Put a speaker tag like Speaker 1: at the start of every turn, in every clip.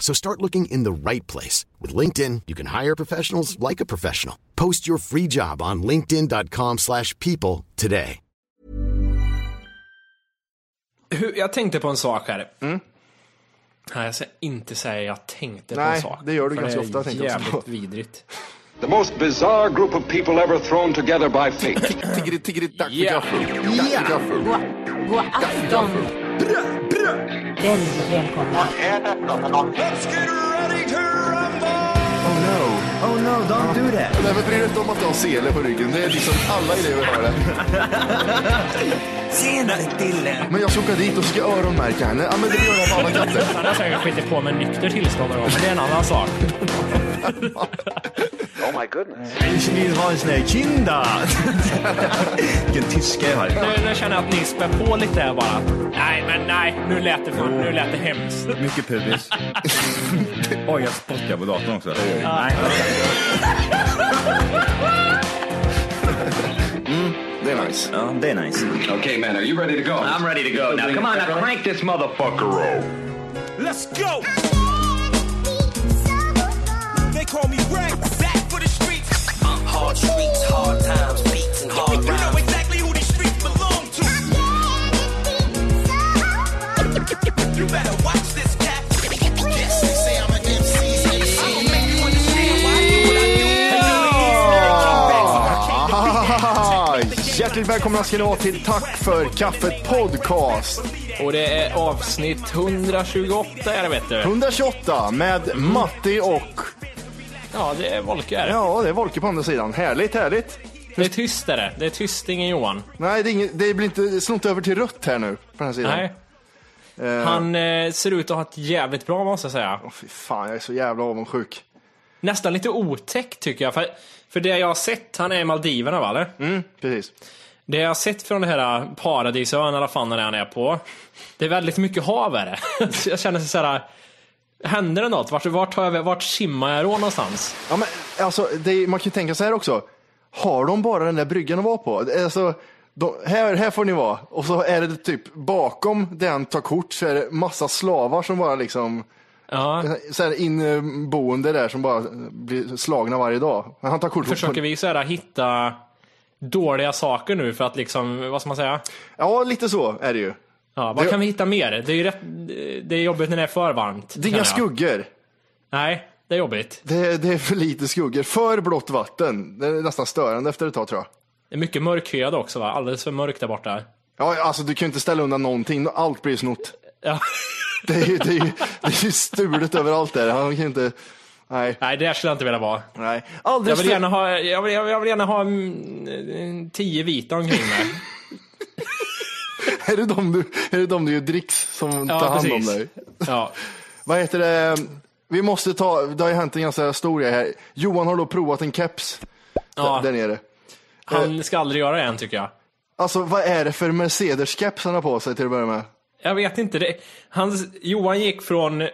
Speaker 1: So start looking in the right place. With LinkedIn, you can hire professionals like a professional. Post your free job on linkedin.com slash people today.
Speaker 2: Hur, jag tänkte på en sak här. Nej, jag ska inte säga jag tänkte på en
Speaker 3: Nej,
Speaker 2: sak.
Speaker 3: det gör du
Speaker 2: för
Speaker 3: ganska
Speaker 2: det är
Speaker 3: ofta, tänkte jag också
Speaker 2: jävligt
Speaker 3: på.
Speaker 2: vidrigt.
Speaker 4: The most bizarre group of people ever thrown together by fate.
Speaker 3: Tiggeri, tiggeri, dack för
Speaker 2: Ja.
Speaker 3: gaffel. Dack för gaffel.
Speaker 4: Oh,
Speaker 5: God, god afton. Väldigt välkomna.
Speaker 3: Oh no.
Speaker 6: Oh no, don't do that.
Speaker 3: Nej, men bry dig inte om att du har sele på ryggen. Det är liksom alla elever har det.
Speaker 6: Senare Dille.
Speaker 3: Men jag ska åka dit och ska öronmärka henne. Ja, men det gör jag på alla katter.
Speaker 2: Han har säkert skitit på med nykter tillstånd någon gång, men det är en annan sak.
Speaker 4: oh my goodness.
Speaker 6: En kines har en sån här kinda. Vilken tyska jag har.
Speaker 2: Nu, nu känner jag att ni spär på lite här bara. Nej, men nej, nu lät det, för, nu lät det hemskt.
Speaker 7: Mycket pubis. Oj, jag spottar på datorn också. Nej.
Speaker 3: Det är nice.
Speaker 7: Ja, det är nice.
Speaker 4: Okay, man, are you ready to go? I'm ready to go. Now, come on, now crank this motherfucker up.
Speaker 8: Let's go. They call me Rex. Back for the streets.
Speaker 6: Hard streets, hard times, beats and
Speaker 8: You
Speaker 6: hard
Speaker 8: know
Speaker 6: rhymes.
Speaker 8: exactly who these streets belong to. You better watch this cat. Yes, they say I'm an MC. I don't make you understand why I do what I do.
Speaker 3: Ah, hjärtligt välkomna ska ni vara till Tack för kaffet podcast.
Speaker 2: Och det är avsnitt 128 är det vet du.
Speaker 3: 128 med Matti och...
Speaker 2: Ja, det är Volker.
Speaker 3: Ja, det är Volke på andra sidan. Härligt, härligt.
Speaker 2: Det är tyst är det. Det är tyst, ingen Johan.
Speaker 3: Nej, det, är inget, det blir inte... Slå inte över till rött här nu. På den här sidan.
Speaker 2: Nej. Han eh, ser ut att ha ett jävligt bra måste jag säga.
Speaker 3: Åh, fy fan, jag är så jävla avundsjuk.
Speaker 2: Nästan lite otäckt tycker jag. För, för det jag har sett, han är i Maldiverna va eller?
Speaker 3: Mm, precis.
Speaker 2: Det jag har sett från den här eh, paradisön eller vad fan det är han är på. Det är väldigt mycket hav är det. Så jag känner så här. Händer det något? Vart, vart, tar jag, vä- vart simmar jag då någonstans?
Speaker 3: Ja, men, alltså, det är, man kan ju tänka så här också. Har de bara den där bryggan att vara på? Alltså, de, här, här får ni vara. Och så är det typ bakom den tar kort så är det massa slavar som bara liksom
Speaker 2: Ja,
Speaker 3: så här inboende där som bara blir slagna varje dag. Men Han tar kort.
Speaker 2: försöker vi så här, hitta dåliga saker nu för att liksom, vad ska man säga?
Speaker 3: Ja, lite så är det ju.
Speaker 2: Ja, vad
Speaker 3: Det-
Speaker 2: kan vi hitta mer? Det är ju rätt, det är jobbigt när det är för varmt.
Speaker 3: Det är
Speaker 2: känner
Speaker 3: inga
Speaker 2: jag.
Speaker 3: skuggor.
Speaker 2: Nej, det är jobbigt.
Speaker 3: Det, det är för lite skuggor. För blått vatten. Det är nästan störande efter ett tag tror jag.
Speaker 2: Det är mycket mörkhyad också va? Alldeles för mörkt där borta.
Speaker 3: Ja, alltså du kan ju inte ställa undan någonting. Allt blir snott.
Speaker 2: Ja.
Speaker 3: Det är ju, det är ju, det är ju stulet överallt där. Han kan ju inte... Nej.
Speaker 2: Nej, där skulle jag inte vilja vara.
Speaker 3: Nej.
Speaker 2: Jag
Speaker 3: Alldeles
Speaker 2: vill gärna ha, jag vill, jag vill gärna ha mm, tio vita omkring mig.
Speaker 3: för... är, det de du, är det de du gör dricks som
Speaker 2: Ja,
Speaker 3: tar hand
Speaker 2: precis.
Speaker 3: om dig?
Speaker 2: Ja.
Speaker 3: Vad heter det? Vi måste ta, det har ju hänt en ganska stor grej här. Johan har då provat en keps
Speaker 2: Ja.
Speaker 3: där nere. eh,
Speaker 2: Han ska aldrig göra det än tycker jag.
Speaker 3: Alltså vad är det för Mercedes-keps han har på sig till att börja med?
Speaker 2: Jag vet inte. Det, han, Johan gick från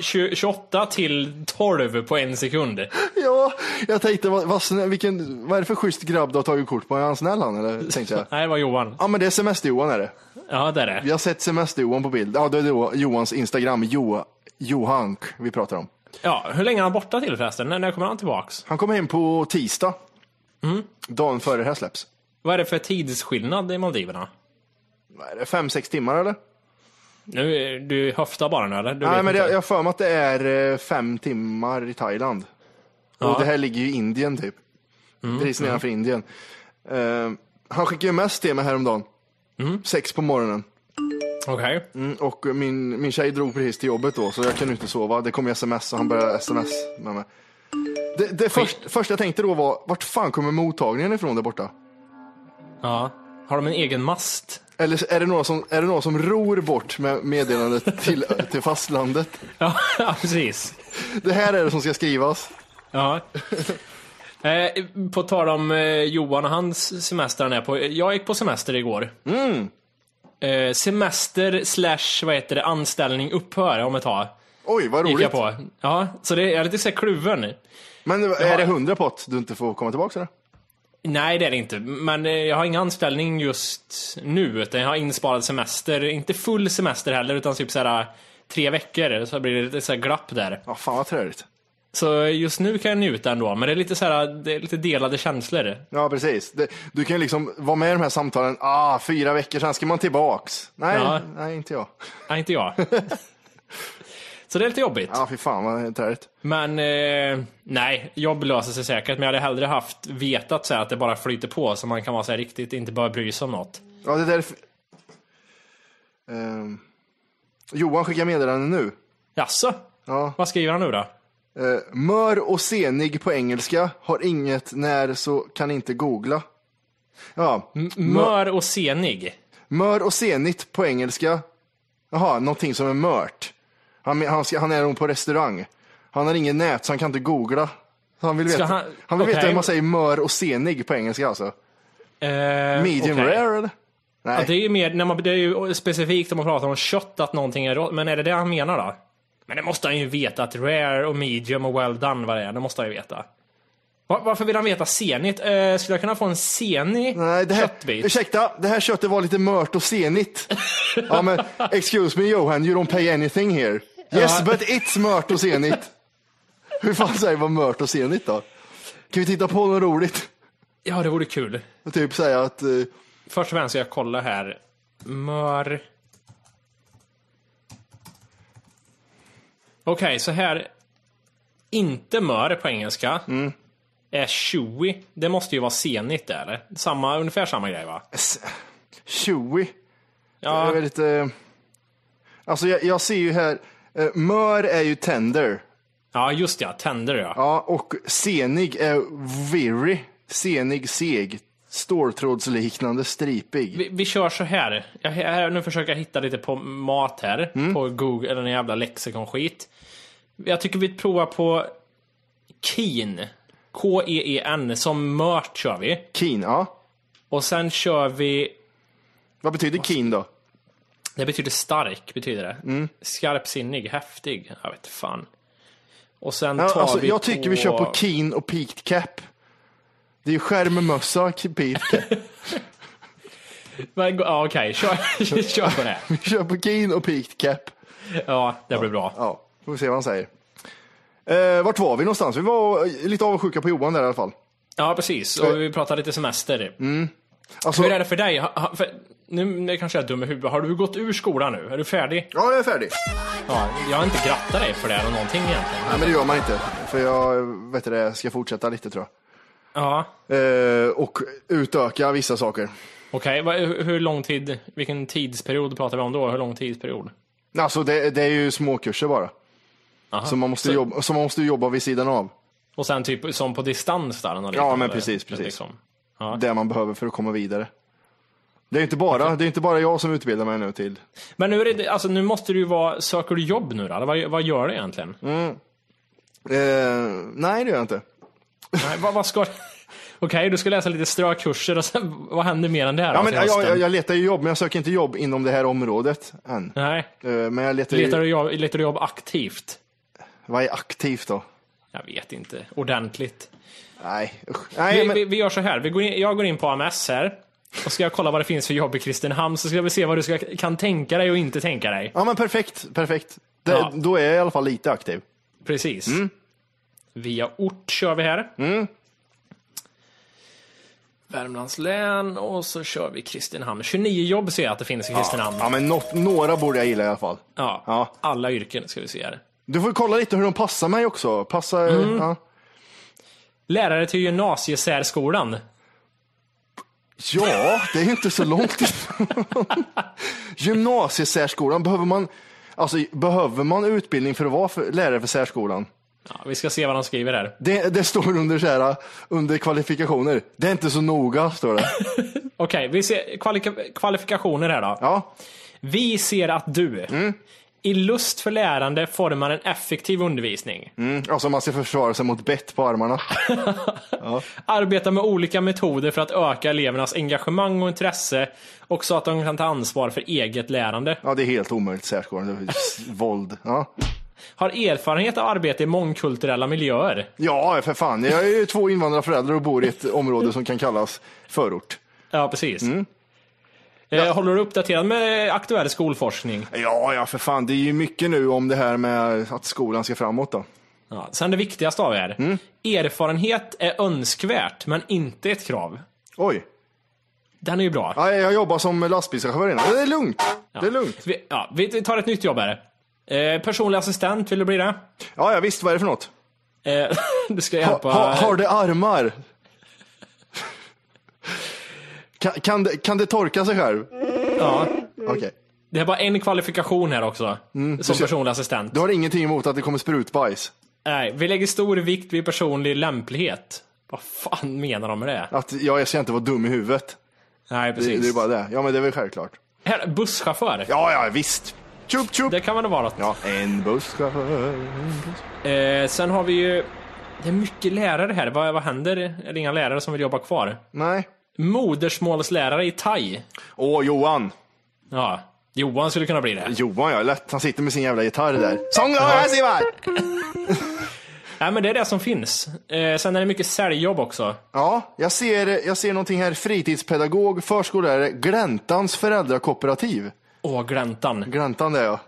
Speaker 2: 20, 28 till 12 på en sekund.
Speaker 3: Ja, jag tänkte vad, vad, snä- vilken, vad är det för schysst grabb du har tagit kort på? Är han snäll han eller? Tänkte jag.
Speaker 2: Nej, det var Johan.
Speaker 3: Ja men det är Semester-Johan är det.
Speaker 2: Ja, det är det.
Speaker 3: Vi har sett Semester-Johan på bild. Ja, det är då Johans Instagram, jo, Johank vi pratar om.
Speaker 2: Ja, hur länge är han borta till förresten? När, när kommer han tillbaks?
Speaker 3: Han kommer hem på tisdag.
Speaker 2: Mm.
Speaker 3: Dagen före det här släpps.
Speaker 2: Vad är det för tidsskillnad i Maldiverna?
Speaker 3: Vad är det, fem, sex timmar eller?
Speaker 2: Nu, eh, du höftar bara nu eller? Du
Speaker 3: Nej,
Speaker 2: vet
Speaker 3: men det,
Speaker 2: inte.
Speaker 3: jag har för mig att det är eh, fem timmar i Thailand.
Speaker 2: Ja. Mm,
Speaker 3: Och det här ligger ju i Indien typ. Precis nedanför Indien. Eh, han skickade ju mest till mig häromdagen.
Speaker 2: Mm.
Speaker 3: Sex på morgonen.
Speaker 2: Okej.
Speaker 3: Mm, och min, min tjej drog precis till jobbet då, så jag kunde inte sova. Det kom sms och han började sms med mig. Det, det först, första jag tänkte då var, vart fan kommer mottagningen ifrån där borta?
Speaker 2: Ja. Har de en egen mast?
Speaker 3: Eller är det någon som, är det någon som ror bort med meddelandet till, till fastlandet?
Speaker 2: Ja, ja precis.
Speaker 3: Det här är det som ska skrivas.
Speaker 2: Ja. Eh, på tal om eh, Johan och hans semester han är på. Jag gick på semester igår. Eh, semester slash, vad heter det, anställning upphör om ett tag.
Speaker 3: Oj, vad
Speaker 2: Gick jag
Speaker 3: roligt.
Speaker 2: på. Ja, så det, jag är lite så här kluven.
Speaker 3: Men är det hundra pott du inte får komma tillbaka? Eller?
Speaker 2: Nej, det är det inte. Men eh, jag har ingen anställning just nu, utan jag har insparad semester. Inte full semester heller, utan typ så här eh, tre veckor. Så blir det lite så här glapp där.
Speaker 3: Ja, fan vad träligt.
Speaker 2: Så just nu kan jag njuta ändå, men det är lite så här, eh, det är lite delade känslor.
Speaker 3: Ja, precis. Det, du kan ju liksom vara med i de här samtalen, ah, fyra veckor sen ska man tillbaks. Nej,
Speaker 2: Ja.
Speaker 3: nej inte jag.
Speaker 2: Nej, inte jag. Så det är lite jobbigt.
Speaker 3: Ja, ah, fy fan vad träligt.
Speaker 2: Men eh, nej, jobb löser sig säkert. Men jag hade hellre haft vetat så här, att det bara flyter på så man kan vara så här, riktigt, inte bara bry sig om något.
Speaker 3: Ja, det där är... f- Ehm, Johan skickar meddelande nu.
Speaker 2: Jaså?
Speaker 3: Ja.
Speaker 2: Vad skriver han nu då?
Speaker 3: Eh, mör och senig på engelska, har inget när så kan inte googla. Ja,
Speaker 2: Mör och senig.
Speaker 3: mör och senigt på engelska. Jaha, någonting som är mört. Han, men- han, ska, han är nog på restaurang. Han har ingen nät så han kan inte googla. Så Han vill
Speaker 2: Ska
Speaker 3: veta, han,
Speaker 2: han-
Speaker 3: vill veta
Speaker 2: okej.
Speaker 3: hur man säger mör och senig på engelska alltså.
Speaker 2: Eh,
Speaker 3: Medium
Speaker 2: okej.
Speaker 3: rare eller? Nej.
Speaker 2: Ja, det är ju mer, när man, det är ju specifikt om man pratar om kött att någonting är rått. Men är det det han menar då? Men det måste han ju veta att rare och medium och well done vad det är. Det måste han ju veta. Va- Varför vill han veta senigt? Eh, skulle jag kunna få en senig
Speaker 3: Nej, det här,
Speaker 2: köttbit?
Speaker 3: ursäkta, det här köttet var lite mört och senigt. ja, men, excuse me Johan, you don't pay anything here. Yes,
Speaker 2: Ja.
Speaker 3: but it's mört och senigt. Hur fan säger man mört och senigt då? Kan vi titta på något roligt?
Speaker 2: Ja, det vore kul.
Speaker 3: Typ säga att, eh,
Speaker 2: Först och främst ska jag kolla här. Mör... Okej, så här. Inte mör på engelska.
Speaker 3: Mm.
Speaker 2: Är chewy. Det måste ju vara senigt där. eller? Samma, ungefär samma grej va?
Speaker 3: s- chewy.
Speaker 2: Ja,
Speaker 3: Det är lite, eh, alltså jag, jag ser ju här, eh, mör är ju tender.
Speaker 2: ja just ja. Tänder ja.
Speaker 3: Ja, och senig är very. Senig, seg, ståltrådsliknande, stripig.
Speaker 2: Vi, vi kör så här. Jag, här. Nu försöker jag hitta lite på mat här.
Speaker 3: Mm.
Speaker 2: På Google, eller den jävla lexikonskit. Jag tycker vi provar på Keen. K-E-E-N. Som mört kör vi.
Speaker 3: Keen, ja.
Speaker 2: Och sen kör vi
Speaker 3: Vad betyder keen då?
Speaker 2: Det betyder stark, betyder det.
Speaker 3: Mm.
Speaker 2: Skarpsinnig, häftig. Jag vet fan. Och sen
Speaker 3: Ja,
Speaker 2: tar
Speaker 3: alltså,
Speaker 2: vi
Speaker 3: jag tycker vi kör på Keen och Peaked Cap. Det är ju skärmmössa, k- Peaked Cap.
Speaker 2: Men, Ja, okej. Kör, kör på det.
Speaker 3: Vi kör på Keen och Peaked Cap.
Speaker 2: Ja, det blir bra.
Speaker 3: Ja, får vi se vad han säger. Eh, vart var vi någonstans? Vi var eh, lite avundsjuka på Johan där i alla fall.
Speaker 2: Ja, precis. Och vi pratar lite semester.
Speaker 3: Alltså,
Speaker 2: Hur är det för dig? Ha- ha- För, nu nu kanske jag är dum i huvudet. Har du gått ur skolan nu? Är du färdig?
Speaker 3: Ja, jag är färdig.
Speaker 2: Ja, jag har inte grattat dig för det eller någonting egentligen.
Speaker 3: Nej, men det gör man inte. För jag vet du det, ska fortsätta lite tror jag.
Speaker 2: Ja,
Speaker 3: Eh, och utöka vissa saker.
Speaker 2: okej. Vad- hur- Hur lång tid, vilken tidsperiod pratar vi om då? Hur lång tidsperiod?
Speaker 3: Alltså det, det är ju småkurser bara. Som man, måste
Speaker 2: så-
Speaker 3: jobba, som man måste jobba vid sidan av.
Speaker 2: Och sen typ som på distans där? eller
Speaker 3: Ja, men
Speaker 2: eller-
Speaker 3: precis, precis.
Speaker 2: liksom. Ja.
Speaker 3: Det man behöver för att komma vidare. Det är inte bara, det är inte bara jag som utbildar mig nu till
Speaker 2: Men nu, är det, alltså, nu måste du ju vara, söker du jobb nu då? Eller vad, vad gör du egentligen?
Speaker 3: Mm. Eh, nej, det gör jag inte.
Speaker 2: Nej, vad, vad ska Okej, du ska läsa lite strökurser och sen, vad händer mer än det här
Speaker 3: Ja,
Speaker 2: då
Speaker 3: men,
Speaker 2: till
Speaker 3: jag,
Speaker 2: hösten?
Speaker 3: jag, jag letar ju jobb, men jag söker inte jobb inom det här området än.
Speaker 2: Nej,
Speaker 3: Eh, men jag letar,
Speaker 2: letar
Speaker 3: ju...
Speaker 2: du, jobb, letar du jobb aktivt?
Speaker 3: Vad är aktivt då?
Speaker 2: Jag vet inte, ordentligt.
Speaker 3: Nej, usch.
Speaker 2: Vi,
Speaker 3: nej men,
Speaker 2: vi, vi gör så här, vi går in, jag går in på AMS här. Och ska jag kolla vad det finns för jobb i Kristinehamn så ska vi se vad du ska, kan tänka dig och inte tänka dig.
Speaker 3: ja, men perfekt. perfekt. Det,
Speaker 2: Ja.
Speaker 3: Då är jag i alla fall lite aktiv.
Speaker 2: Precis.
Speaker 3: Mm.
Speaker 2: Via ort kör vi här. Värmlands län och så kör vi Kristinehamn. 29 jobb ser jag att det finns i Kristinehamn.
Speaker 3: Ja, men nå- några borde jag gilla i alla fall.
Speaker 2: Ja.
Speaker 3: Ja.
Speaker 2: Alla yrken ska vi se här.
Speaker 3: Du får kolla lite hur de passar mig också. Passar,
Speaker 2: Mm.
Speaker 3: ja.
Speaker 2: Lärare till gymnasiesärskolan.
Speaker 3: Ja, det är ju inte så långt ifrån. Gymnasiesärskolan, behöver man, alltså, behöver man utbildning för att vara för, lärare för särskolan?
Speaker 2: Ja, vi ska se vad de skriver här.
Speaker 3: Det, det står under, så här, under kvalifikationer. Det är inte så noga, står det.
Speaker 2: Okej, vi ser kvali- kvalifikationer här då.
Speaker 3: Ja,
Speaker 2: Vi ser att du i lust för lärande formar en effektiv undervisning.
Speaker 3: mm, alltså man ska försvara sig mot bett på armarna.
Speaker 2: Arbetar med olika metoder för att öka elevernas engagemang och intresse och så att de kan ta ansvar för eget lärande.
Speaker 3: Ja, det är helt omöjligt särskolan. Det är s- Våld. Ja.
Speaker 2: Har erfarenhet av arbete i mångkulturella miljöer.
Speaker 3: ja, för fan. Jag är ju två invandrarföräldrar och bor i ett område som kan kallas förort.
Speaker 2: Ja, precis. Eh, Håller du uppdaterad med aktuell skolforskning?
Speaker 3: Ja, ja, för fan. Det är ju mycket nu om det här med att skolan ska framåt då.
Speaker 2: Ja. Sen det viktigaste av er. Erfarenhet är önskvärt, men inte ett krav.
Speaker 3: Oj.
Speaker 2: Den är ju bra.
Speaker 3: Nej, jag jobbar som lastbilschaufför innan. Det är lugnt. Det är lugnt.
Speaker 2: Vi, ja, vi vi tar ett nytt jobb här. Eh, personlig assistent, vill du bli det?
Speaker 3: Ja, ja visst. Vad är det för något?
Speaker 2: Eh, du ska
Speaker 3: Ha,
Speaker 2: hjälpa...
Speaker 3: ha, har det armar? Kan, kan, det, kan det torka sig själv?
Speaker 2: ja.
Speaker 3: Okej.
Speaker 2: Det är bara en kvalifikation här också, som
Speaker 3: ser-
Speaker 2: personlig assistent.
Speaker 3: Du har ingenting emot att det kommer sprutbajs?
Speaker 2: Nej, vi lägger stor vikt vid personlig lämplighet. Vad fan menar de med det?
Speaker 3: Att ja, jag ska inte vara dum i huvudet?
Speaker 2: Nej, precis.
Speaker 3: Det, det är bara det. Ja, men det är väl självklart.
Speaker 2: Här, busschaufför.
Speaker 3: Ja, ja, visst. Tjup, tjup.
Speaker 2: Det kan vara något.
Speaker 3: Ja, en busschaufför.
Speaker 2: Eh, sen har vi ju... Det är mycket lärare här. Vad, vad händer? Är det inga lärare som vill jobba kvar?
Speaker 3: Nej.
Speaker 2: Modersmålslärare i thai.
Speaker 3: Åh, Johan.
Speaker 2: Ja, Johan skulle kunna bli det.
Speaker 3: Johan, ja. Lätt. Han sitter med sin jävla gitarr där. Sång då, här Sivar!
Speaker 2: Nej, men det är det som finns. Eh, sen är det mycket säljjobb också.
Speaker 3: Ja, jag ser, jag ser någonting här. Fritidspedagog, förskollärare, Gläntans föräldrakooperativ.
Speaker 2: Åh, Gläntan.
Speaker 3: Gläntan det är jag.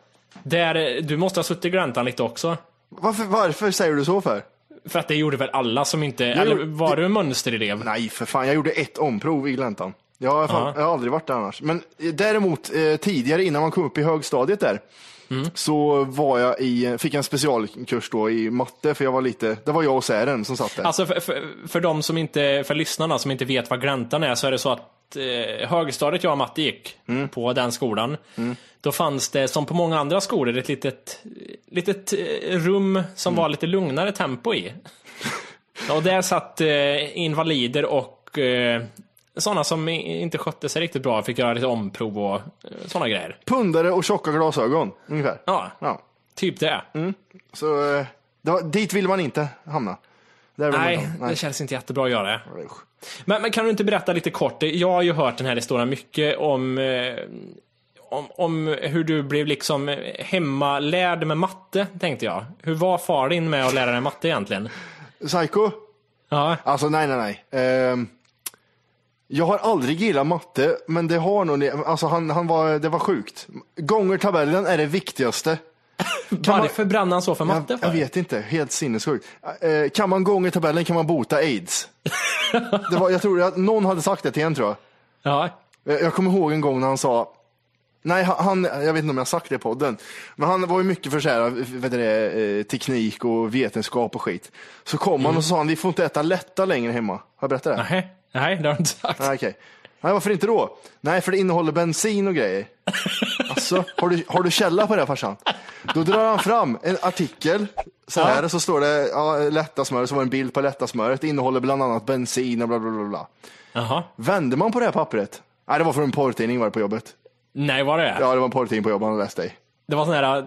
Speaker 2: Där, eh, du måste ha suttit i Gläntan lite också.
Speaker 3: Varför, varför säger du så för?
Speaker 2: För att det gjorde väl alla som inte... eller
Speaker 3: gjorde-
Speaker 2: var du en mönsterelev?
Speaker 3: Nej, för fan. Jag gjorde ett omprov i Gläntan. Jag har, fan, jag har aldrig varit där annars. Men eh, däremot eh, tidigare, innan man kom upp i högstadiet där,
Speaker 2: Mm.
Speaker 3: så var jag i, fick jag en specialkurs då i matte, för jag var lite, det var jag och Sären som satt där.
Speaker 2: Alltså för, för, för de som inte, för lyssnarna som inte vet vad gläntan är så är det så att eh, högstadiet jag och Matte gick på den skolan. Då fanns det, som på många andra skolor, ett litet, litet eh, rum som var lite lugnare tempo i. och där satt eh, invalider och eh, sådana som i- inte skötte sig riktigt bra fick göra lite omprov och eh, sådana grejer.
Speaker 3: Pundare och tjocka glasögon, ungefär.
Speaker 2: Ja,
Speaker 3: Ja.
Speaker 2: typ det.
Speaker 3: Så eh, det var, dit vill man inte hamna. Där vill man inte
Speaker 2: Nej,
Speaker 3: hamna.
Speaker 2: det känns inte jättebra att göra. Men, men kan du inte berätta lite kort, jag har ju hört den här historien mycket om, eh, om, om hur du blev liksom eh, hemmalärd med matte, tänkte jag. Hur var far din med att lära dig matte egentligen?
Speaker 3: Psycho?
Speaker 2: Ja,
Speaker 3: Alltså nej, nej, nej. Ehm, jag har aldrig gillat matte, men det har nog, alltså han, han var, det var sjukt. Gångertabellen är det viktigaste.
Speaker 2: varför brann han så för matte?
Speaker 3: Jag,
Speaker 2: för?
Speaker 3: jag vet inte, helt sinnessjukt. Eh, kan man gångertabellen kan man bota aids. det var, jag tror att någon hade sagt det till en tror jag.
Speaker 2: Ja.
Speaker 3: Eh, Jag kommer ihåg en gång när han sa, nej han, jag vet inte om jag har sagt det i podden, men han var ju mycket för så här, vet du det, eh, teknik och vetenskap och skit. Så kom han och så sa han, vi får inte äta lätta längre hemma. Har jag berättat det?
Speaker 2: Mm. Nej, nej, det har du inte sagt.
Speaker 3: Nej, okej. Nej, varför inte då? Nej, för det innehåller bensin och grejer. Alltså, har du, har du källa på det här, farsan? Då drar han fram en artikel, så här, och så står det ja, lätta smöret, så var det en bild på lätta smöret, det innehåller bland annat bensin och bla bla bla. bla.
Speaker 2: Jaha.
Speaker 3: Vände man på det här pappret? Nej, det var från en porrtidning var det på jobbet.
Speaker 2: Nej, var det
Speaker 3: Ja, det var en porrtidning på jobbet han läste i.
Speaker 2: Det var sån här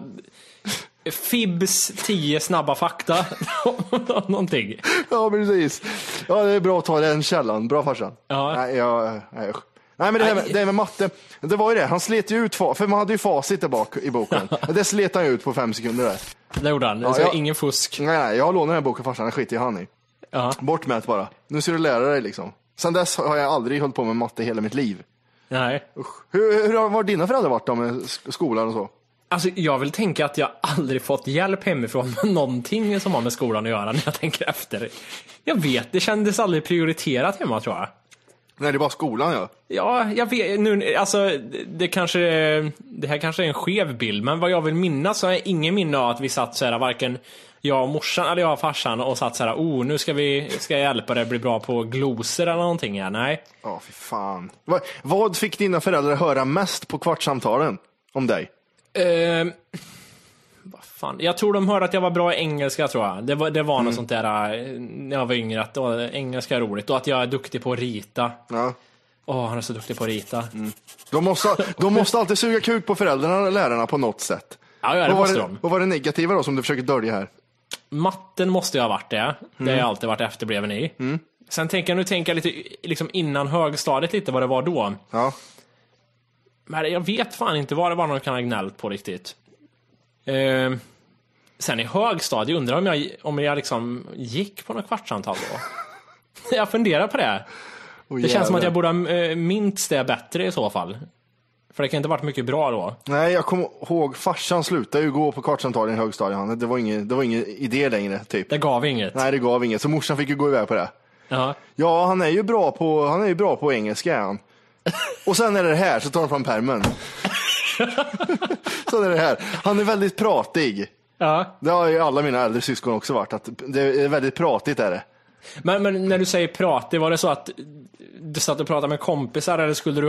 Speaker 2: eh, Fibs 10 snabba fakta. Någonting.
Speaker 3: Ja, precis. Ja, det är bra att ta den källan. Bra farsan.
Speaker 2: Ja.
Speaker 3: Nej, jag, nej, usch. nej men det här, med, det här med matte, det var ju det. Han slet ju ut, fa- för man hade ju facit där bak i boken. Det slet han ju ut på fem sekunder där.
Speaker 2: Det gjorde han.
Speaker 3: Ja,
Speaker 2: så
Speaker 3: jag-
Speaker 2: Ingen fusk.
Speaker 3: Nej, nej, jag lånar den här boken farsan, den skiter ju han i.
Speaker 2: Ja.
Speaker 3: Bort med det bara. Nu ska du lära dig liksom. Sen dess har jag aldrig hållit på med matte hela mitt liv.
Speaker 2: Nej.
Speaker 3: Usch. Hur, hur har var dina föräldrar varit då med sk- skolan och så?
Speaker 2: Alltså, jag vill tänka att jag aldrig fått hjälp hemifrån med någonting som har med skolan att göra när jag tänker efter. Jag vet, det kändes aldrig prioriterat hemma tror jag.
Speaker 3: Nej, det är bara skolan ja.
Speaker 2: Ja, jag vet, nu, alltså det kanske, det här kanske är en skev bild, men vad jag vill minnas så har jag ingen minne av att vi satt så här varken jag och morsan, eller jag och farsan och satt så här, oh nu ska, vi, ska jag hjälpa dig bli bra på glosor eller någonting. Ja, nej.
Speaker 3: Ja, fy fan. Va, vad fick dina föräldrar höra mest på kvartssamtalen om dig?
Speaker 2: Ehm, vad fan. Jag tror de hörde att jag var bra i engelska tror jag. Det var, det var något sånt där eh, när jag var yngre, att åh, engelska är roligt och att jag är duktig på att rita.
Speaker 3: Ja.
Speaker 2: Åh, han är så duktig på att rita.
Speaker 3: De, måste, de måste alltid suga kuk på föräldrarna och lärarna på något sätt.
Speaker 2: Ja, ja, det
Speaker 3: vad, var
Speaker 2: måste
Speaker 3: det,
Speaker 2: de.
Speaker 3: vad var det negativa då som du försöker dölja här?
Speaker 2: Matten måste jag ha varit det. Det har jag alltid varit efterbleven i. Sen tänker jag, nu tänker jag lite liksom innan högstadiet lite vad det var då.
Speaker 3: Ja.
Speaker 2: Men jag vet fan inte vad det var någon kan ha gnällt på riktigt. Ehm, sen i högstadiet undrar om jag om jag liksom gick på något kvartssamtal då. jag funderar på det.
Speaker 3: Åh,
Speaker 2: Det känns som att
Speaker 3: jävlar.
Speaker 2: jag borde ha eh, mints det bättre i så fall. För det kan inte ha varit mycket bra då.
Speaker 3: Nej, jag kommer ihåg farsan slutade ju gå på kvartssamtalen i högstadiet. han. Det var ingen, det var ingen idé längre, typ.
Speaker 2: Det gav inget.
Speaker 3: Nej, det gav inget. Så morsan fick ju gå iväg på det.
Speaker 2: Ja.
Speaker 3: Ja, han är ju bra på, han är ju bra på engelska är han. Och sen är det här, så tar han fram pärmen. sen är det här. Han är väldigt pratig.
Speaker 2: Ja.
Speaker 3: Det har ju alla mina äldre syskon också varit. Att det är väldigt pratigt är det.
Speaker 2: Men, men när du säger pratig, var det så att du satt och pratade med kompisar eller skulle du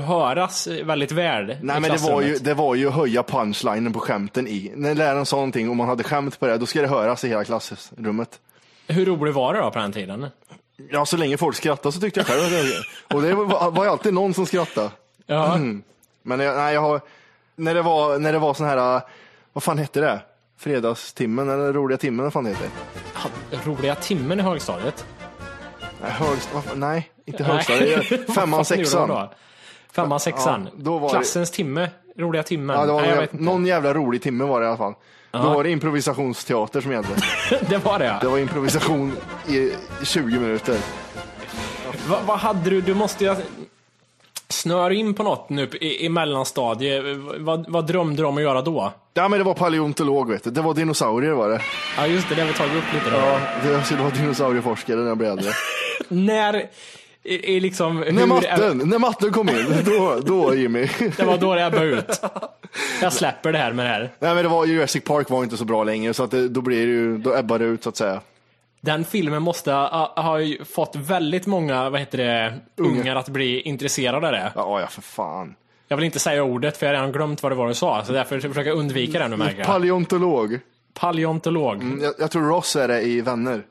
Speaker 2: höras eh, väldigt väl i
Speaker 3: Nej, men det var,
Speaker 2: klassrummet?
Speaker 3: ju, det var ju att höja punchlinen på skämten i. När läraren sa någonting och man hade skämt på det, då ska det höras i hela klassrummet.
Speaker 2: Hur rolig var det då på den tiden?
Speaker 3: Ja, så länge folk skrattade så tyckte jag själv att det var Och det var, var ju alltid någon som skrattade.
Speaker 2: Ja.
Speaker 3: Mm. Men jag, nej, jag har, när det var, när det var sån här, vad fan hette det? Fredagstimmen eller roliga timmen, vad fan det heter?
Speaker 2: Roliga timmen i högstadiet?
Speaker 3: Nej, högst, vad fan- nej inte
Speaker 2: Nej.
Speaker 3: högstadiet.
Speaker 2: Vad
Speaker 3: Femman,
Speaker 2: fan gjorde de
Speaker 3: sexan.
Speaker 2: då? Femman, sexan.
Speaker 3: Ja, då var det-
Speaker 2: Klassens timme. Roliga timmen.
Speaker 3: Ja, det var
Speaker 2: Nej, jag
Speaker 3: någon,
Speaker 2: vet inte.
Speaker 3: någon jävla rolig timme var det i alla fall. Då
Speaker 2: Ja.
Speaker 3: var det improvisationsteater som gällde.
Speaker 2: det var det ja.
Speaker 3: Det var improvisation i 20 minuter.
Speaker 2: Va, vad hade du? Du måste ju... Snör in på något nu i, i mellanstadiet. Vad, vad drömde du om att göra då?
Speaker 3: Ja, men det var paleontolog vet du. Det var dinosaurier var det.
Speaker 2: Ja just det, det har vi tagit upp lite då.
Speaker 3: Det- Jag skulle vara dinosaurieforskare när jag blev äldre.
Speaker 2: När... I, i liksom,
Speaker 3: När
Speaker 2: hur-
Speaker 3: matten, när matten kom in, då, då Jimmy.
Speaker 2: Det var då det ebbade ut. Jag släpper det här med det här.
Speaker 3: Nej men det var, Jurassic Park var inte så bra längre så att det, då blir det ju, då ebbar det ut så att säga.
Speaker 2: Den filmen måste ha, ha ju fått väldigt många, vad heter det, ungar att bli intresserade av det.
Speaker 3: Ja, ja för fan.
Speaker 2: Jag vill inte säga ordet för jag har redan glömt vad det var du sa, så därför försöker jag undvika det nu märker jag.
Speaker 3: Paleontolog.
Speaker 2: Paleontolog.
Speaker 3: Jag, jag tror Ross är det i Vänner.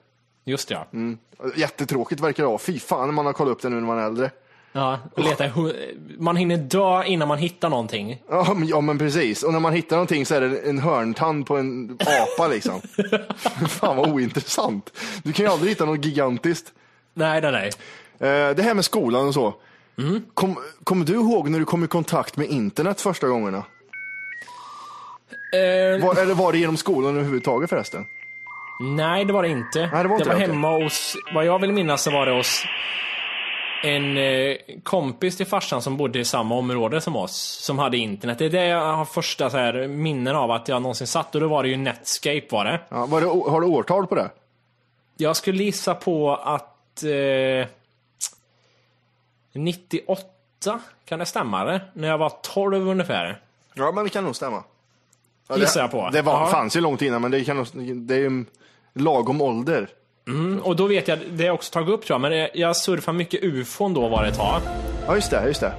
Speaker 2: Just det, ja.
Speaker 3: Jättetråkigt verkar det vara. Fy fan om man har kollat upp det nu när man är äldre.
Speaker 2: ja och leta, i hu- man hinner dö innan man hittar någonting.
Speaker 3: Ja men, ja men precis, och när man hittar någonting så är det en hörntand på en apa liksom. fan vad ointressant. Du kan ju aldrig hitta något gigantiskt.
Speaker 2: Nej, nej, nej.
Speaker 3: Eh, Det här med skolan och så.
Speaker 2: Mm.
Speaker 3: Kom- Kommer du ihåg när du kom i kontakt med internet första gångerna?
Speaker 2: Eh,
Speaker 3: Var, eller var det genom skolan överhuvudtaget förresten?
Speaker 2: nej, det var det inte.
Speaker 3: Nej, det var inte det, okej.
Speaker 2: hemma hos, vad jag vill minnas så var det hos en eh, kompis till farsan som bodde i samma område som oss, som hade internet. Det är det jag har första så här, minnen av att jag någonsin satt, och då var det ju Netscape var det.
Speaker 3: Ja, var det, har du årtal på det?
Speaker 2: Jag skulle gissa på att eh, 98, kan det stämma eller? När jag var 12 ungefär.
Speaker 3: Ja, men det kan nog stämma. Ja,
Speaker 2: Gissar jag på.
Speaker 3: Det var,
Speaker 2: Ja.
Speaker 3: fanns ju långt innan, men det, kan nog, det är ju en lagom ålder.
Speaker 2: Mm, och då vet jag, det har jag också tagit upp tror jag, men jag surfade mycket ufon då var det ett tag.
Speaker 3: Ja, just det. Just det.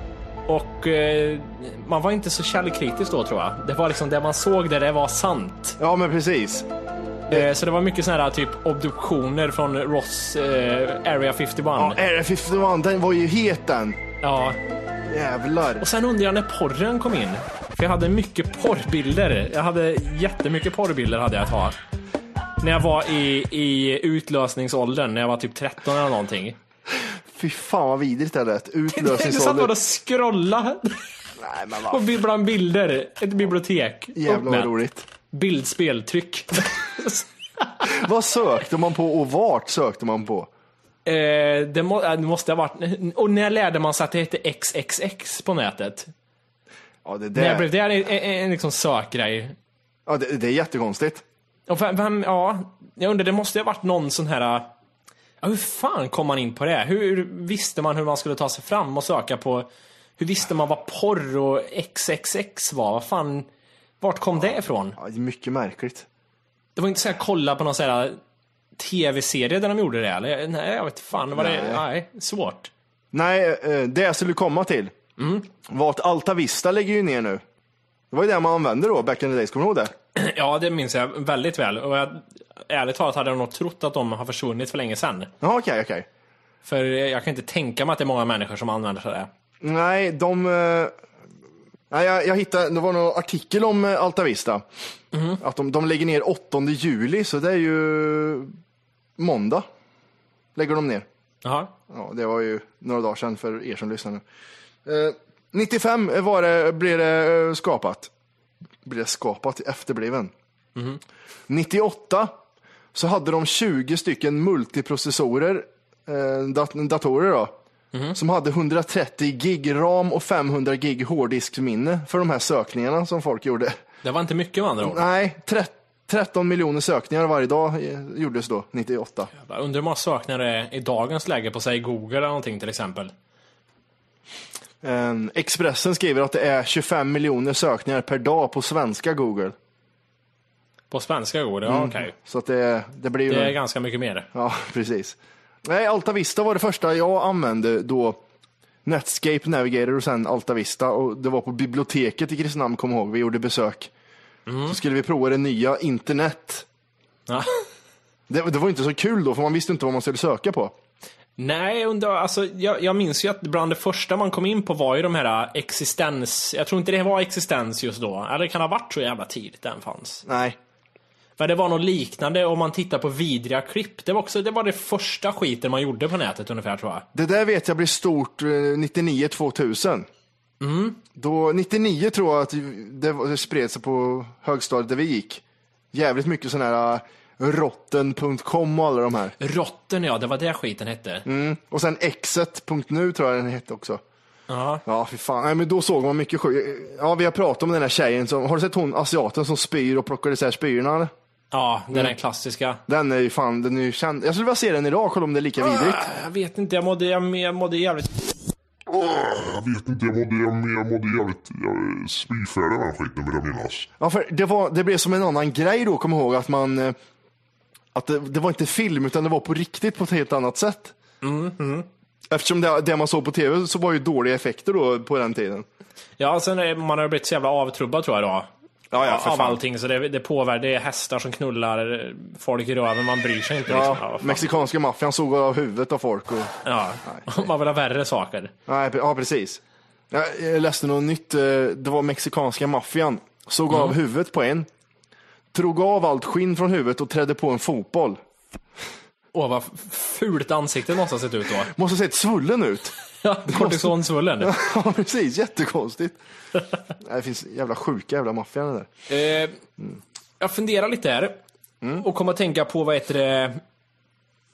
Speaker 2: Och eh, man var inte så källkritisk då tror jag. Det var liksom det man såg där, det var sant.
Speaker 3: Ja, men precis.
Speaker 2: Så det var mycket sådana här typ obduktioner från Ross eh, Area 51.
Speaker 3: Ja, RF51, den var ju het den.
Speaker 2: Ja.
Speaker 3: Jävlar.
Speaker 2: Och sen undrar jag när porren kom in. För jag hade mycket porrbilder. Jag hade jättemycket porrbilder hade jag ett tag. När jag var i, i utlösningsåldern, när jag var typ 13 eller någonting.
Speaker 3: Fy fan vad vidrigt det lät.
Speaker 2: Jag satt bara
Speaker 3: Utlösningsålder.
Speaker 2: och scrollade
Speaker 3: Nej, men
Speaker 2: på
Speaker 3: vad
Speaker 2: bi- bland bilder. Ett bibliotek.
Speaker 3: jävlar vad
Speaker 2: Uppmätt.
Speaker 3: roligt.
Speaker 2: Bildspeltryck.
Speaker 3: Vad sökte man på och vart sökte man på?
Speaker 2: Eh, det, må, eh, det måste ha varit... Och när lärde man sig att det hette XXX på nätet?
Speaker 3: Ja, det
Speaker 2: När blev
Speaker 3: där.
Speaker 2: det en, en, en liksom sökgrej?
Speaker 3: Ja, det, det är jättekonstigt.
Speaker 2: Och vem, vem, ja, jag undrar, det måste ju ha varit någon sån här... eh, Ja, hur fan kom man in på det? Hur visste man hur man skulle ta sig fram och söka på... Hur visste man vad porr och XXX var? Vad fan... Vart kom det ifrån?
Speaker 3: Ja, det är mycket märkligt.
Speaker 2: Det var inte så här kolla på någon sån här tv-serie där de gjorde det eller? Nej, jag vet fan. Var det, nej, svårt.
Speaker 3: Nej, eh, det jag skulle komma till var att Alta Vista lägger ju ner nu. Det var ju det man använde då, back in the days. Kommer du ihåg det?
Speaker 2: Ja, det minns jag väldigt väl. Och jag, ärligt talat hade jag nog trott att de har försvunnit för länge sedan.
Speaker 3: Ja, okej, okej.
Speaker 2: För jag kan inte tänka mig att det är många människor som använder sig av det.
Speaker 3: Nej, de... eh, Nej, jag, jag hittade, det var någon artikel om eh, Alta Vista. Att de, de lägger ner 8 juli, så det är ju måndag. Lägger de ner.
Speaker 2: Jaha.
Speaker 3: Ja, det var ju några dagar sedan för er som lyssnar nu. Eh, 95 var det, blev det eh, skapat. Blev det skapat, efterbliven. 98 så hade de 20 stycken multiprocessorer, eh, dat- datorer då, som hade 130 gig ram och 500 gig hårddiskminne för de här sökningarna som folk gjorde.
Speaker 2: Det var inte mycket med andra ord.
Speaker 3: Nej, tre- 13 miljoner sökningar varje dag eh, gjordes då, 98.
Speaker 2: Jag undrar hur många saknar det i dagens läge på sig Google eller någonting till exempel.
Speaker 3: Eh, Expressen skriver att det är 25 miljoner sökningar per dag på svenska Google.
Speaker 2: På svenska Google, ja okej.
Speaker 3: Så att det, det blir ju...
Speaker 2: Det är ganska mycket mer.
Speaker 3: Ja, precis. Nej, Alta Vista var det första jag använde då Netscape Navigator och sen Alta Vista. Och det var på biblioteket i Kristinehamn, kom jag ihåg. Vi gjorde besök.
Speaker 2: Mm.
Speaker 3: Så skulle vi prova det nya internet.
Speaker 2: Ja.
Speaker 3: Det, det var inte så kul då, för man visste inte vad man skulle söka på.
Speaker 2: Nej, jag undrar, alltså, jag, jag minns ju att bland det första man kom in på var ju de här äh, existens... Jag tror inte det var existens just då. Eller det kan ha varit så jävla tidigt den fanns.
Speaker 3: Nej.
Speaker 2: För det var något liknande om man tittar på vidriga klipp. Det var, också, det var det första skiten man gjorde på nätet ungefär tror jag.
Speaker 3: Det där vet jag blev stort eh, 99-2000. Då, 99 tror jag att det, var- det spred sig på högstadiet där vi gick. Jävligt mycket sådana här eh, rotten.com och alla de här.
Speaker 2: Rotten ja, det var det skiten hette.
Speaker 3: Mm. Och sen exet.nu tror jag den hette också.
Speaker 2: Ja.
Speaker 3: Ja, fy fan. Nej, men då såg man mycket sjukt. Ja, vi har pratat om den här tjejen. Som, har du sett hon asiaten som spyr och plockar isär spyorna? eller?
Speaker 2: ja, det är
Speaker 3: Mm.
Speaker 2: den klassiska.
Speaker 3: Den är ju fan, den är ju känd. Jag skulle vilja se den idag, kolla om det är lika vidrigt.
Speaker 2: Jag vet inte, jag mådde, jag, jag mådde jävligt...
Speaker 9: Jag vet inte, jag mådde, jag, jag mådde jävligt jag, spyfärdig av eh, den skiten vill jag minnas.
Speaker 3: Ja, för det, var, det blev som en annan grej då, kom ihåg, att man... eh, Att det, det var inte film, utan det var på riktigt på ett helt annat sätt. mm. Eftersom det, det man såg på tv så var ju dåliga effekter då på den tiden.
Speaker 2: Ja, sen är, man har ju blivit så jävla avtrubbad tror jag då.
Speaker 3: Ja, ja, för
Speaker 2: av
Speaker 3: fan.
Speaker 2: allting, så det, det påverkar. Det är hästar som knullar eh, folk i röven, man bryr sig inte. liksom.
Speaker 3: Ja,
Speaker 2: vad fan.
Speaker 3: mexikanska maffian såg av huvudet av folk. Och...
Speaker 2: ja. man vill ha värre saker.
Speaker 3: Nej, pre- ja, precis. Jag jag läste något nytt. eh, Det var mexikanska maffian. Såg av huvudet på en. Drog av allt skinn från huvudet och trädde på en fotboll.
Speaker 2: Åh, vad f- fult ansiktet måste ha sett ut då.
Speaker 3: Måste ha sett svullen ut.
Speaker 2: Ja, Kortisonsvullen.
Speaker 3: ja, precis. Jättekonstigt. Nej, det finns jävla sjuka jävla maffian i det där.
Speaker 2: Eh, jag funderar lite här. Och kommer att tänka på vad heter det,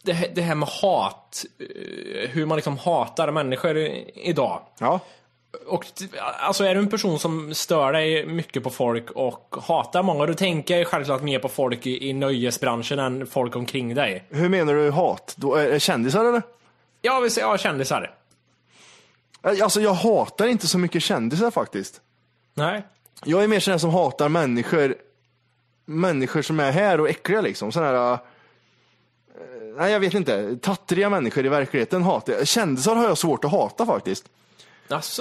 Speaker 2: det, här- det här med hat. eh, Hur man liksom hatar människor i- idag.
Speaker 3: Ja.
Speaker 2: Och, t- alltså är du en person som stör dig mycket på folk och hatar många, då tänker jag ju självklart mer på folk i, i nöjesbranschen än folk omkring dig.
Speaker 3: Hur menar du hat? Då, är det kändisar eller?
Speaker 2: Jag vill säga ja, kändisar.
Speaker 3: Alltså jag hatar inte så mycket kändisar faktiskt.
Speaker 2: Nej.
Speaker 3: Jag är mer sån här som hatar människor, människor som är här och äckliga liksom. Sån här, eh, nej jag vet inte, tattriga människor i verkligheten hatar jag. Kändisar har jag svårt att hata faktiskt.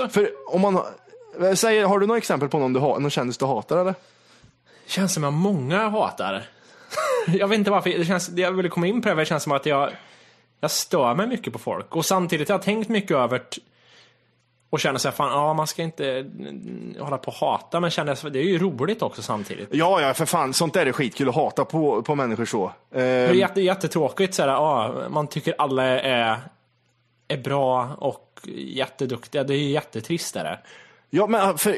Speaker 3: För om man... eh, Säg, har du några exempel på någon, du ha, någon kändis du hatar eller?
Speaker 2: Känns som jag många hatar. jag vet inte varför. Det känns, det jag ville komma in på det, här, det känns som att jag, jag stör mig mycket på folk. Och samtidigt har jag tänkt mycket över t- och känner såhär, fan, ja man ska inte mm, hålla på och hata, men känner, så- det är ju roligt också samtidigt.
Speaker 3: Ja, ja, för fan. Sånt där är skitkul att hata på, på människor så.
Speaker 2: Det är
Speaker 3: Ehm,
Speaker 2: jätte, jättetråkigt såhär, ja, man tycker alla är, är bra och jätteduktiga. Det är ju jättetrist är det.
Speaker 3: Ja, men äh, för,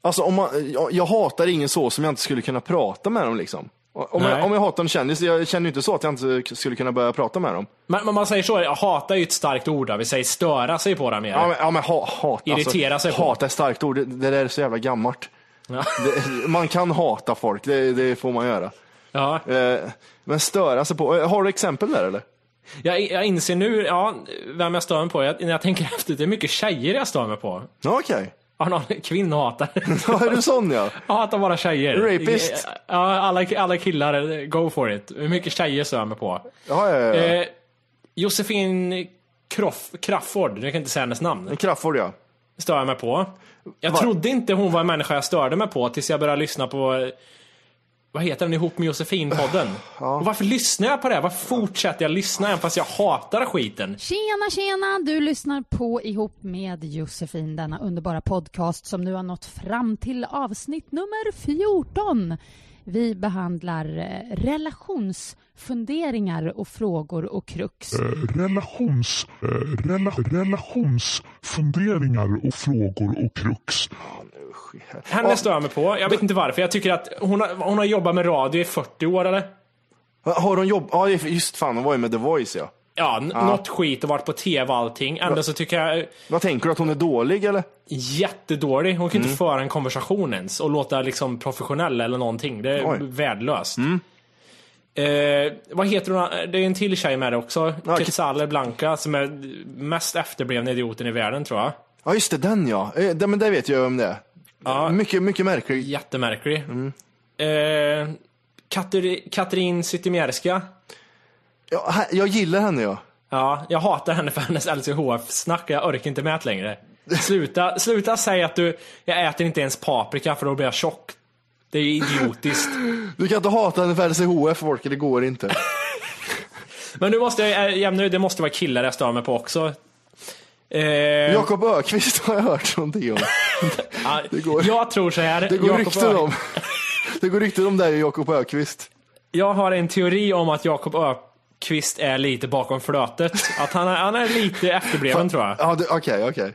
Speaker 3: alltså, om man, jag, jag hatar ingen så som jag inte skulle kunna prata med dem. Liksom. Om,
Speaker 2: Nej.
Speaker 3: jag, om jag hatar en kändis, jag känner ju inte så att jag inte skulle kunna börja prata med dem.
Speaker 2: Men men man säger så, jag hatar är ju ett starkt ord där. Vi säger störa sig på det mer.
Speaker 3: Ja, men, ja, men ha, hat, alltså.
Speaker 2: Irritera sig på.
Speaker 3: Hata är ett starkt ord, det, det där är så jävla gammalt. Det, man kan hata folk, det, det får man göra.
Speaker 2: Ja.
Speaker 3: Eh, Men störa sig på, eh, har du exempel där eller?
Speaker 2: Jag, jag inser nu, ja, vem jag stör mig på. Jag, när jag tänker efter, det är mycket tjejer jag stör mig på.
Speaker 3: Ja, Okej.
Speaker 2: Av någon kvinnohatare.
Speaker 3: Ja, är du sån ja?
Speaker 2: Jag hatar bara tjejer.
Speaker 3: Rapist.
Speaker 2: Ja, alla, alla killar, go for it. Hur mycket tjejer stör jag mig på.
Speaker 3: Ja, ja, ja. ja.
Speaker 2: Eh, Josefin Croff, Crafoord, jag kan inte säga hennes namn,
Speaker 3: Crafoord ja.
Speaker 2: stör jag mig på. Jag trodde inte hon var en människa jag störde mig på tills jag började lyssna på vad heter den ihop med Josefin-podden? Och varför lyssnar jag på det? Varför fortsätter jag lyssna även fast jag hatar skiten?
Speaker 10: Tjena, tjena! Du lyssnar på Ihop med Josefin, denna underbara podcast som nu har nått fram till avsnitt nummer 14. Vi behandlar eh, relationsfunderingar och frågor och krux.
Speaker 11: Relations, eh, rela, relationsfunderingar och frågor och krux.
Speaker 2: Henne stör jag mig på. Jag vet inte varför. Jag tycker att hon har, hon har jobbat med radio i 40 år eller?
Speaker 3: Har hon jobb? Ja just fan, hon var ju med The Voice ja.
Speaker 2: Ja, n-
Speaker 3: Ja.
Speaker 2: något skit och varit på tv och allting. Ändå så tycker jag eh,
Speaker 3: Vad tänker du, att hon är dålig eller?
Speaker 2: jättedålig. Hon kan
Speaker 3: Mm.
Speaker 2: inte föra en konversation ens och låta liksom professionell eller någonting. Det är
Speaker 3: Oj. Mm.
Speaker 2: värdelöst. Eh, vad heter hon? Det är en till tjej med det också. Quetzal Blanca som är mest efterblivna idioten i världen tror jag.
Speaker 3: Ja just det, den ja. Eh, Det, men det vet jag om det är. Mycket, mycket märklig.
Speaker 2: Jättemärklig.
Speaker 3: Mm.
Speaker 2: Eh, Kateri- Katrin Zytomierska.
Speaker 3: Ja, he- jag gillar henne ja.
Speaker 2: Ja, jag hatar henne för hennes LCHF-snack. Jag orkar inte med det längre. Sluta, sluta säga att du, jag äter inte ens paprika för då blir jag tjock. Det är ju idiotiskt.
Speaker 3: Du kan inte hata henne för LCHF folk, det går inte.
Speaker 2: Men nu måste jag eh, jämna ut, det måste vara killar jag stör mig på också. Eh,
Speaker 3: Jakob Ökvist har jag hört någonting om.
Speaker 2: ja, Jag tror så här.
Speaker 3: Det går
Speaker 2: Jakob Ö-
Speaker 3: rykten om. Det går rykten om dig och Jakob Ökvist.
Speaker 2: Jag har en teori om att Jakob Ökvist är lite bakom flötet. Att han är, han är lite efterbliven tror jag.
Speaker 3: Ja, det- okej, okej.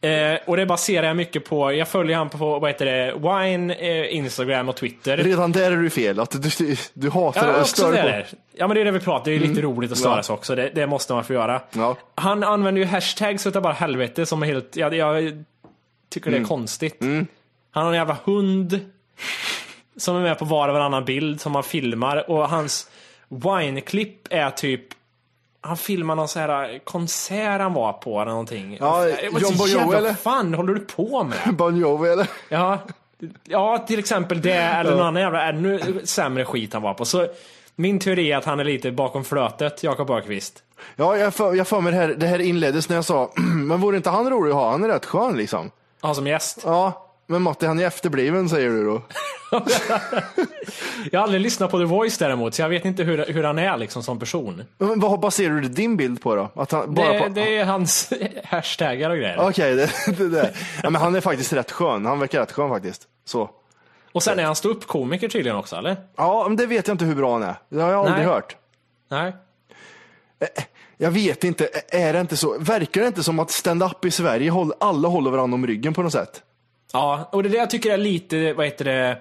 Speaker 2: Eh, och det baserar jag mycket på, jag följer han på, vad heter det, Wine, eh, Instagram och Twitter.
Speaker 3: Redan där är du fel, att du, du hatar
Speaker 2: Ja,
Speaker 3: och
Speaker 2: också
Speaker 3: stör
Speaker 2: det
Speaker 3: på.
Speaker 2: där. ja, men det är det vi pratar, det är lite
Speaker 3: Mm.
Speaker 2: roligt att
Speaker 3: Ja.
Speaker 2: störa sig också. Det, det måste man få göra. Han använder ju hashtags utav bara helvete som är helt, jag, jag tycker det är
Speaker 3: Mm.
Speaker 2: konstigt. Han har en jävla hund som är med på var och varannan bild som han filmar och hans wine-klipp är typ han filmar någon så här konsert han var på eller någonting.
Speaker 3: Ja,
Speaker 2: Jag var
Speaker 3: John
Speaker 2: så
Speaker 3: Bon
Speaker 2: jävla-
Speaker 3: Jovi, eller?
Speaker 2: fan håller du på med?
Speaker 3: Bon Jovi eller?
Speaker 2: Ja, ja till exempel det eller
Speaker 3: Ja.
Speaker 2: någon annan jävla ännu sämre skit han var på. Så min teori är att han är lite bakom flötet, Jakob Ökvist.
Speaker 3: Ja, jag för, jag för mig det här, det här inleddes när jag sa, men vore inte han rolig att ha? Han är rätt skön liksom.
Speaker 2: Ja, som gäst.
Speaker 3: Ja, men Matti han är efterbliven säger du då.
Speaker 2: Jag har aldrig lyssnat på The Voice däremot, så jag vet inte hur, hur han är liksom som person.
Speaker 3: Men vad baserar du din bild på då? Att han, bara
Speaker 2: det,
Speaker 3: på...
Speaker 2: det är hans hashtaggar och grejer.
Speaker 3: Okej, det, det där. Ja, men han är faktiskt rätt skön. Han verkar rätt skön faktiskt. Så.
Speaker 2: Och sen är han ståuppkomiker tydligen också, eller?
Speaker 3: Ja, men det vet jag inte hur bra han är. Det har jag aldrig
Speaker 2: Nej.
Speaker 3: hört.
Speaker 2: Nej.
Speaker 3: Jag vet inte, Ä- är det inte så? Verkar det inte som att stand-up i Sverige, håll- alla håller varandra om ryggen på något sätt?
Speaker 2: Ja, och det är det jag tycker är lite, vad heter det,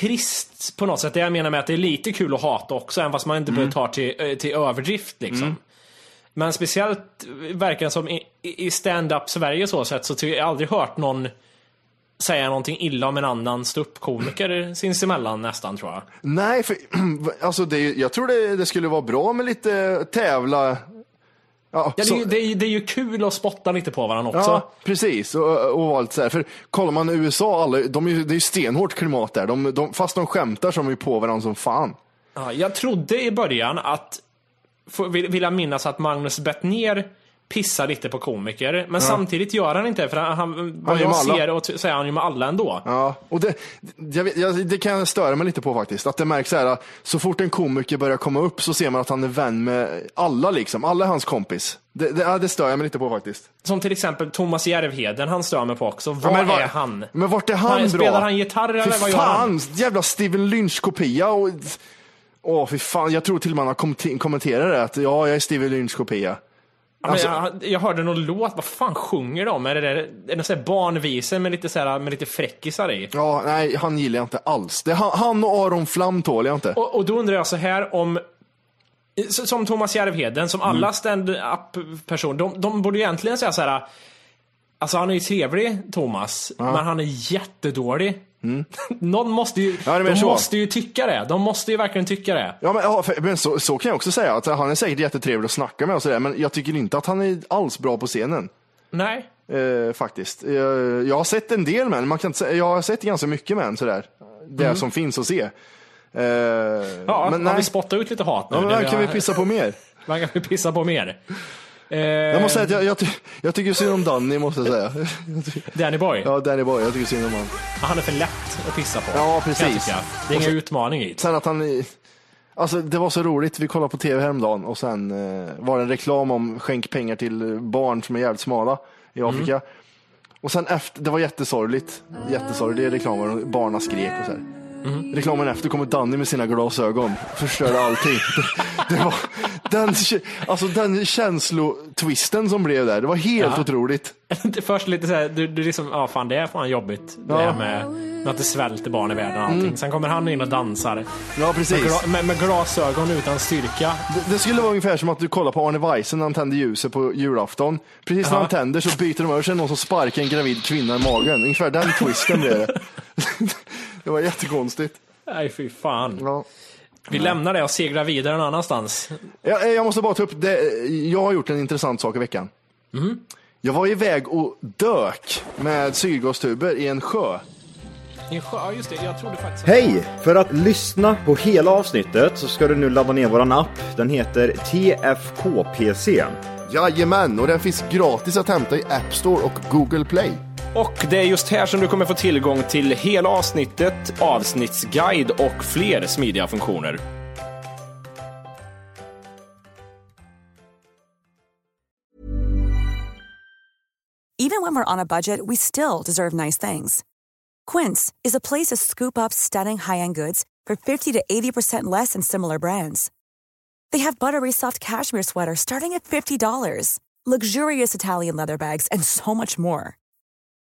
Speaker 2: trist på något sätt. Det jag menar med att det är lite kul att hata också, även fast man inte
Speaker 3: Mm.
Speaker 2: behöver ta till, eh, till överdrift liksom. Men speciellt verkar det som i, i i stand-up Sverige så sett, så tycker jag jag har aldrig hört någon säga någonting illa om en annan ståuppkomiker sinsemellan nästan tror jag.
Speaker 3: Nej, för alltså det, är ju- jag tror det, det skulle vara bra med lite tävla. Ja,
Speaker 2: Ja, det,
Speaker 3: så-
Speaker 2: är ju, det, är, ju- det är ju kul att spotta lite på varandra också.
Speaker 3: Ja, precis. Och, och allt så här. För kollar man USA, alla, de är, ju- det är ju stenhårt klimat där. De, de, fast de skämtar så är de ju på varandra som fan.
Speaker 2: Ja, jag trodde i början att, för- vill vill jag minnas att Magnus Bettner pissar lite på komiker. Men samtidigt gör han inte för han, han, vad
Speaker 3: är
Speaker 2: jag
Speaker 3: med alla.
Speaker 2: ser och t- så är han ju med alla ändå.
Speaker 3: Ja, och det, jag vet, jag, det kan jag störa mig lite på faktiskt. Att det märks så här, så fort en komiker börjar komma upp så ser man att han är vän med alla liksom. Alla är hans kompis. Det, det, ja, det stör jag mig lite på faktiskt.
Speaker 2: Som till exempel Thomas Järvheden, han stör mig på också. Vad
Speaker 3: men vad-
Speaker 2: är han?
Speaker 3: Men vart är han bra?
Speaker 2: Spelar han gitarr eller
Speaker 3: fy
Speaker 2: vad gör han?
Speaker 3: fan, jävla Steven Lynch-kopia. och- Åh, fy fan. Jag tror till och med han har komment- kommenterat det. Att, ja, jag är Steven Lynch-kopia.
Speaker 2: Ja, men
Speaker 3: Alltså-
Speaker 2: jag, jag hörde någon låt, vad fan sjunger de? Är det, där, är det någon sån här barnvisor med lite, så här, med lite fräckisar i?
Speaker 3: Ja, nej, han gillar jag inte alls. Det, han, han och Aron Flam tål jag inte.
Speaker 2: Och, och då undrar jag så här om s- som Thomas Järvheden, som
Speaker 3: Mm.
Speaker 2: alla stand-up personer, de, de borde egentligen säga så här. Alltså han är ju trevlig, Thomas, men han är jättedålig. Någon måste ju,
Speaker 3: Mm. Ja, det menar
Speaker 2: de
Speaker 3: så.
Speaker 2: måste ju tycka det. De måste ju verkligen tycka det.
Speaker 3: Ja, men, ja, för, men så, så kan jag också säga. Att han är säkert jättetrevlig att snacka med och sådär, men jag tycker inte att han är alls bra på scenen.
Speaker 2: Nej.
Speaker 3: Eh, faktiskt. Eh, jag har sett en del med honom. man kan inte säga, Jag har sett ganska mycket med honom, sådär. Det
Speaker 2: Mm.
Speaker 3: som finns att se. Eh,
Speaker 2: Ja,
Speaker 3: men
Speaker 2: har
Speaker 3: nej.
Speaker 2: vi spottat ut lite hat nu?
Speaker 3: Ja, men
Speaker 2: Det
Speaker 3: här kan vi
Speaker 2: har-
Speaker 3: pissa på mer.
Speaker 2: Man kan vi pissa på mer.
Speaker 3: Jag måste säga att jag, jag, ty- jag tycker synd om Danny, måste jag säga.
Speaker 2: Eh, Danny Boy?
Speaker 3: Ja, Danny Boy. Jag tycker synd om honom.
Speaker 2: Han är för lätt att pissa på.
Speaker 3: Ja,
Speaker 2: kan jag
Speaker 3: precis.
Speaker 2: tycka. Det är
Speaker 3: Och
Speaker 2: ingen
Speaker 3: så-
Speaker 2: utmaning i.
Speaker 3: Sen att han... i- Alltså det var så roligt, vi kollade på tv häromdagen och sen eh, var det en reklam om skänk pengar till barn som är jävligt smala i Afrika. Och sen efter, det var jättesorgligt, jättesorglig reklam och barna skrek och så här. Reklamen efter kommer Danny med sina glasögon, förstörde allting. det, det var, den, k- alltså den känslotwisten som blev där, det var helt
Speaker 2: Ja.
Speaker 3: otroligt.
Speaker 2: Det är Först lite såhär, du, du liksom, ja fan det är fan jobbigt. Det
Speaker 3: Ja.
Speaker 2: här med, med att det svälter barn i världen och allting.
Speaker 3: Mm.
Speaker 2: Sen kommer han in och dansar.
Speaker 3: Ja, precis.
Speaker 2: Med, gla, med, med glasögon utan styrka.
Speaker 3: Det, det skulle vara ungefär som att du kollar på Arne Weise när han tänder ljuset på julafton. Precis när
Speaker 2: Ja.
Speaker 3: han tänder så byter de över sig någon som sparkar en gravid kvinna i magen. Ungefär den twisten blev det. det var jättekonstigt.
Speaker 2: Nej fy fan.
Speaker 3: Ja.
Speaker 2: Vi lämnar det och seglar vidare någon annanstans.
Speaker 3: Jag, jag måste bara ta upp det. eh, Jag har gjort en intressant sak i veckan. Jag var iväg och dök med syrgastuber i en sjö.
Speaker 2: I en sjö, ja, just det, jag trodde faktiskt...
Speaker 12: Alltså, Hej! För att lyssna på hela avsnittet så ska du nu ladda ner våran app. Den heter TFKPC.
Speaker 3: Jajamän, och den finns gratis att hämta i App Store och Google Play.
Speaker 13: Och det är just här som du kommer få tillgång till hela avsnittet, avsnittsguide och fler smidiga funktioner.
Speaker 14: Even when we're on a budget, we still deserve nice things. Quince is a place to scoop up stunning high end goods for 50 to 80% less than similar brands. They have buttery soft cashmere sweaters starting at $50, luxurious Italian leather bags, and so much more.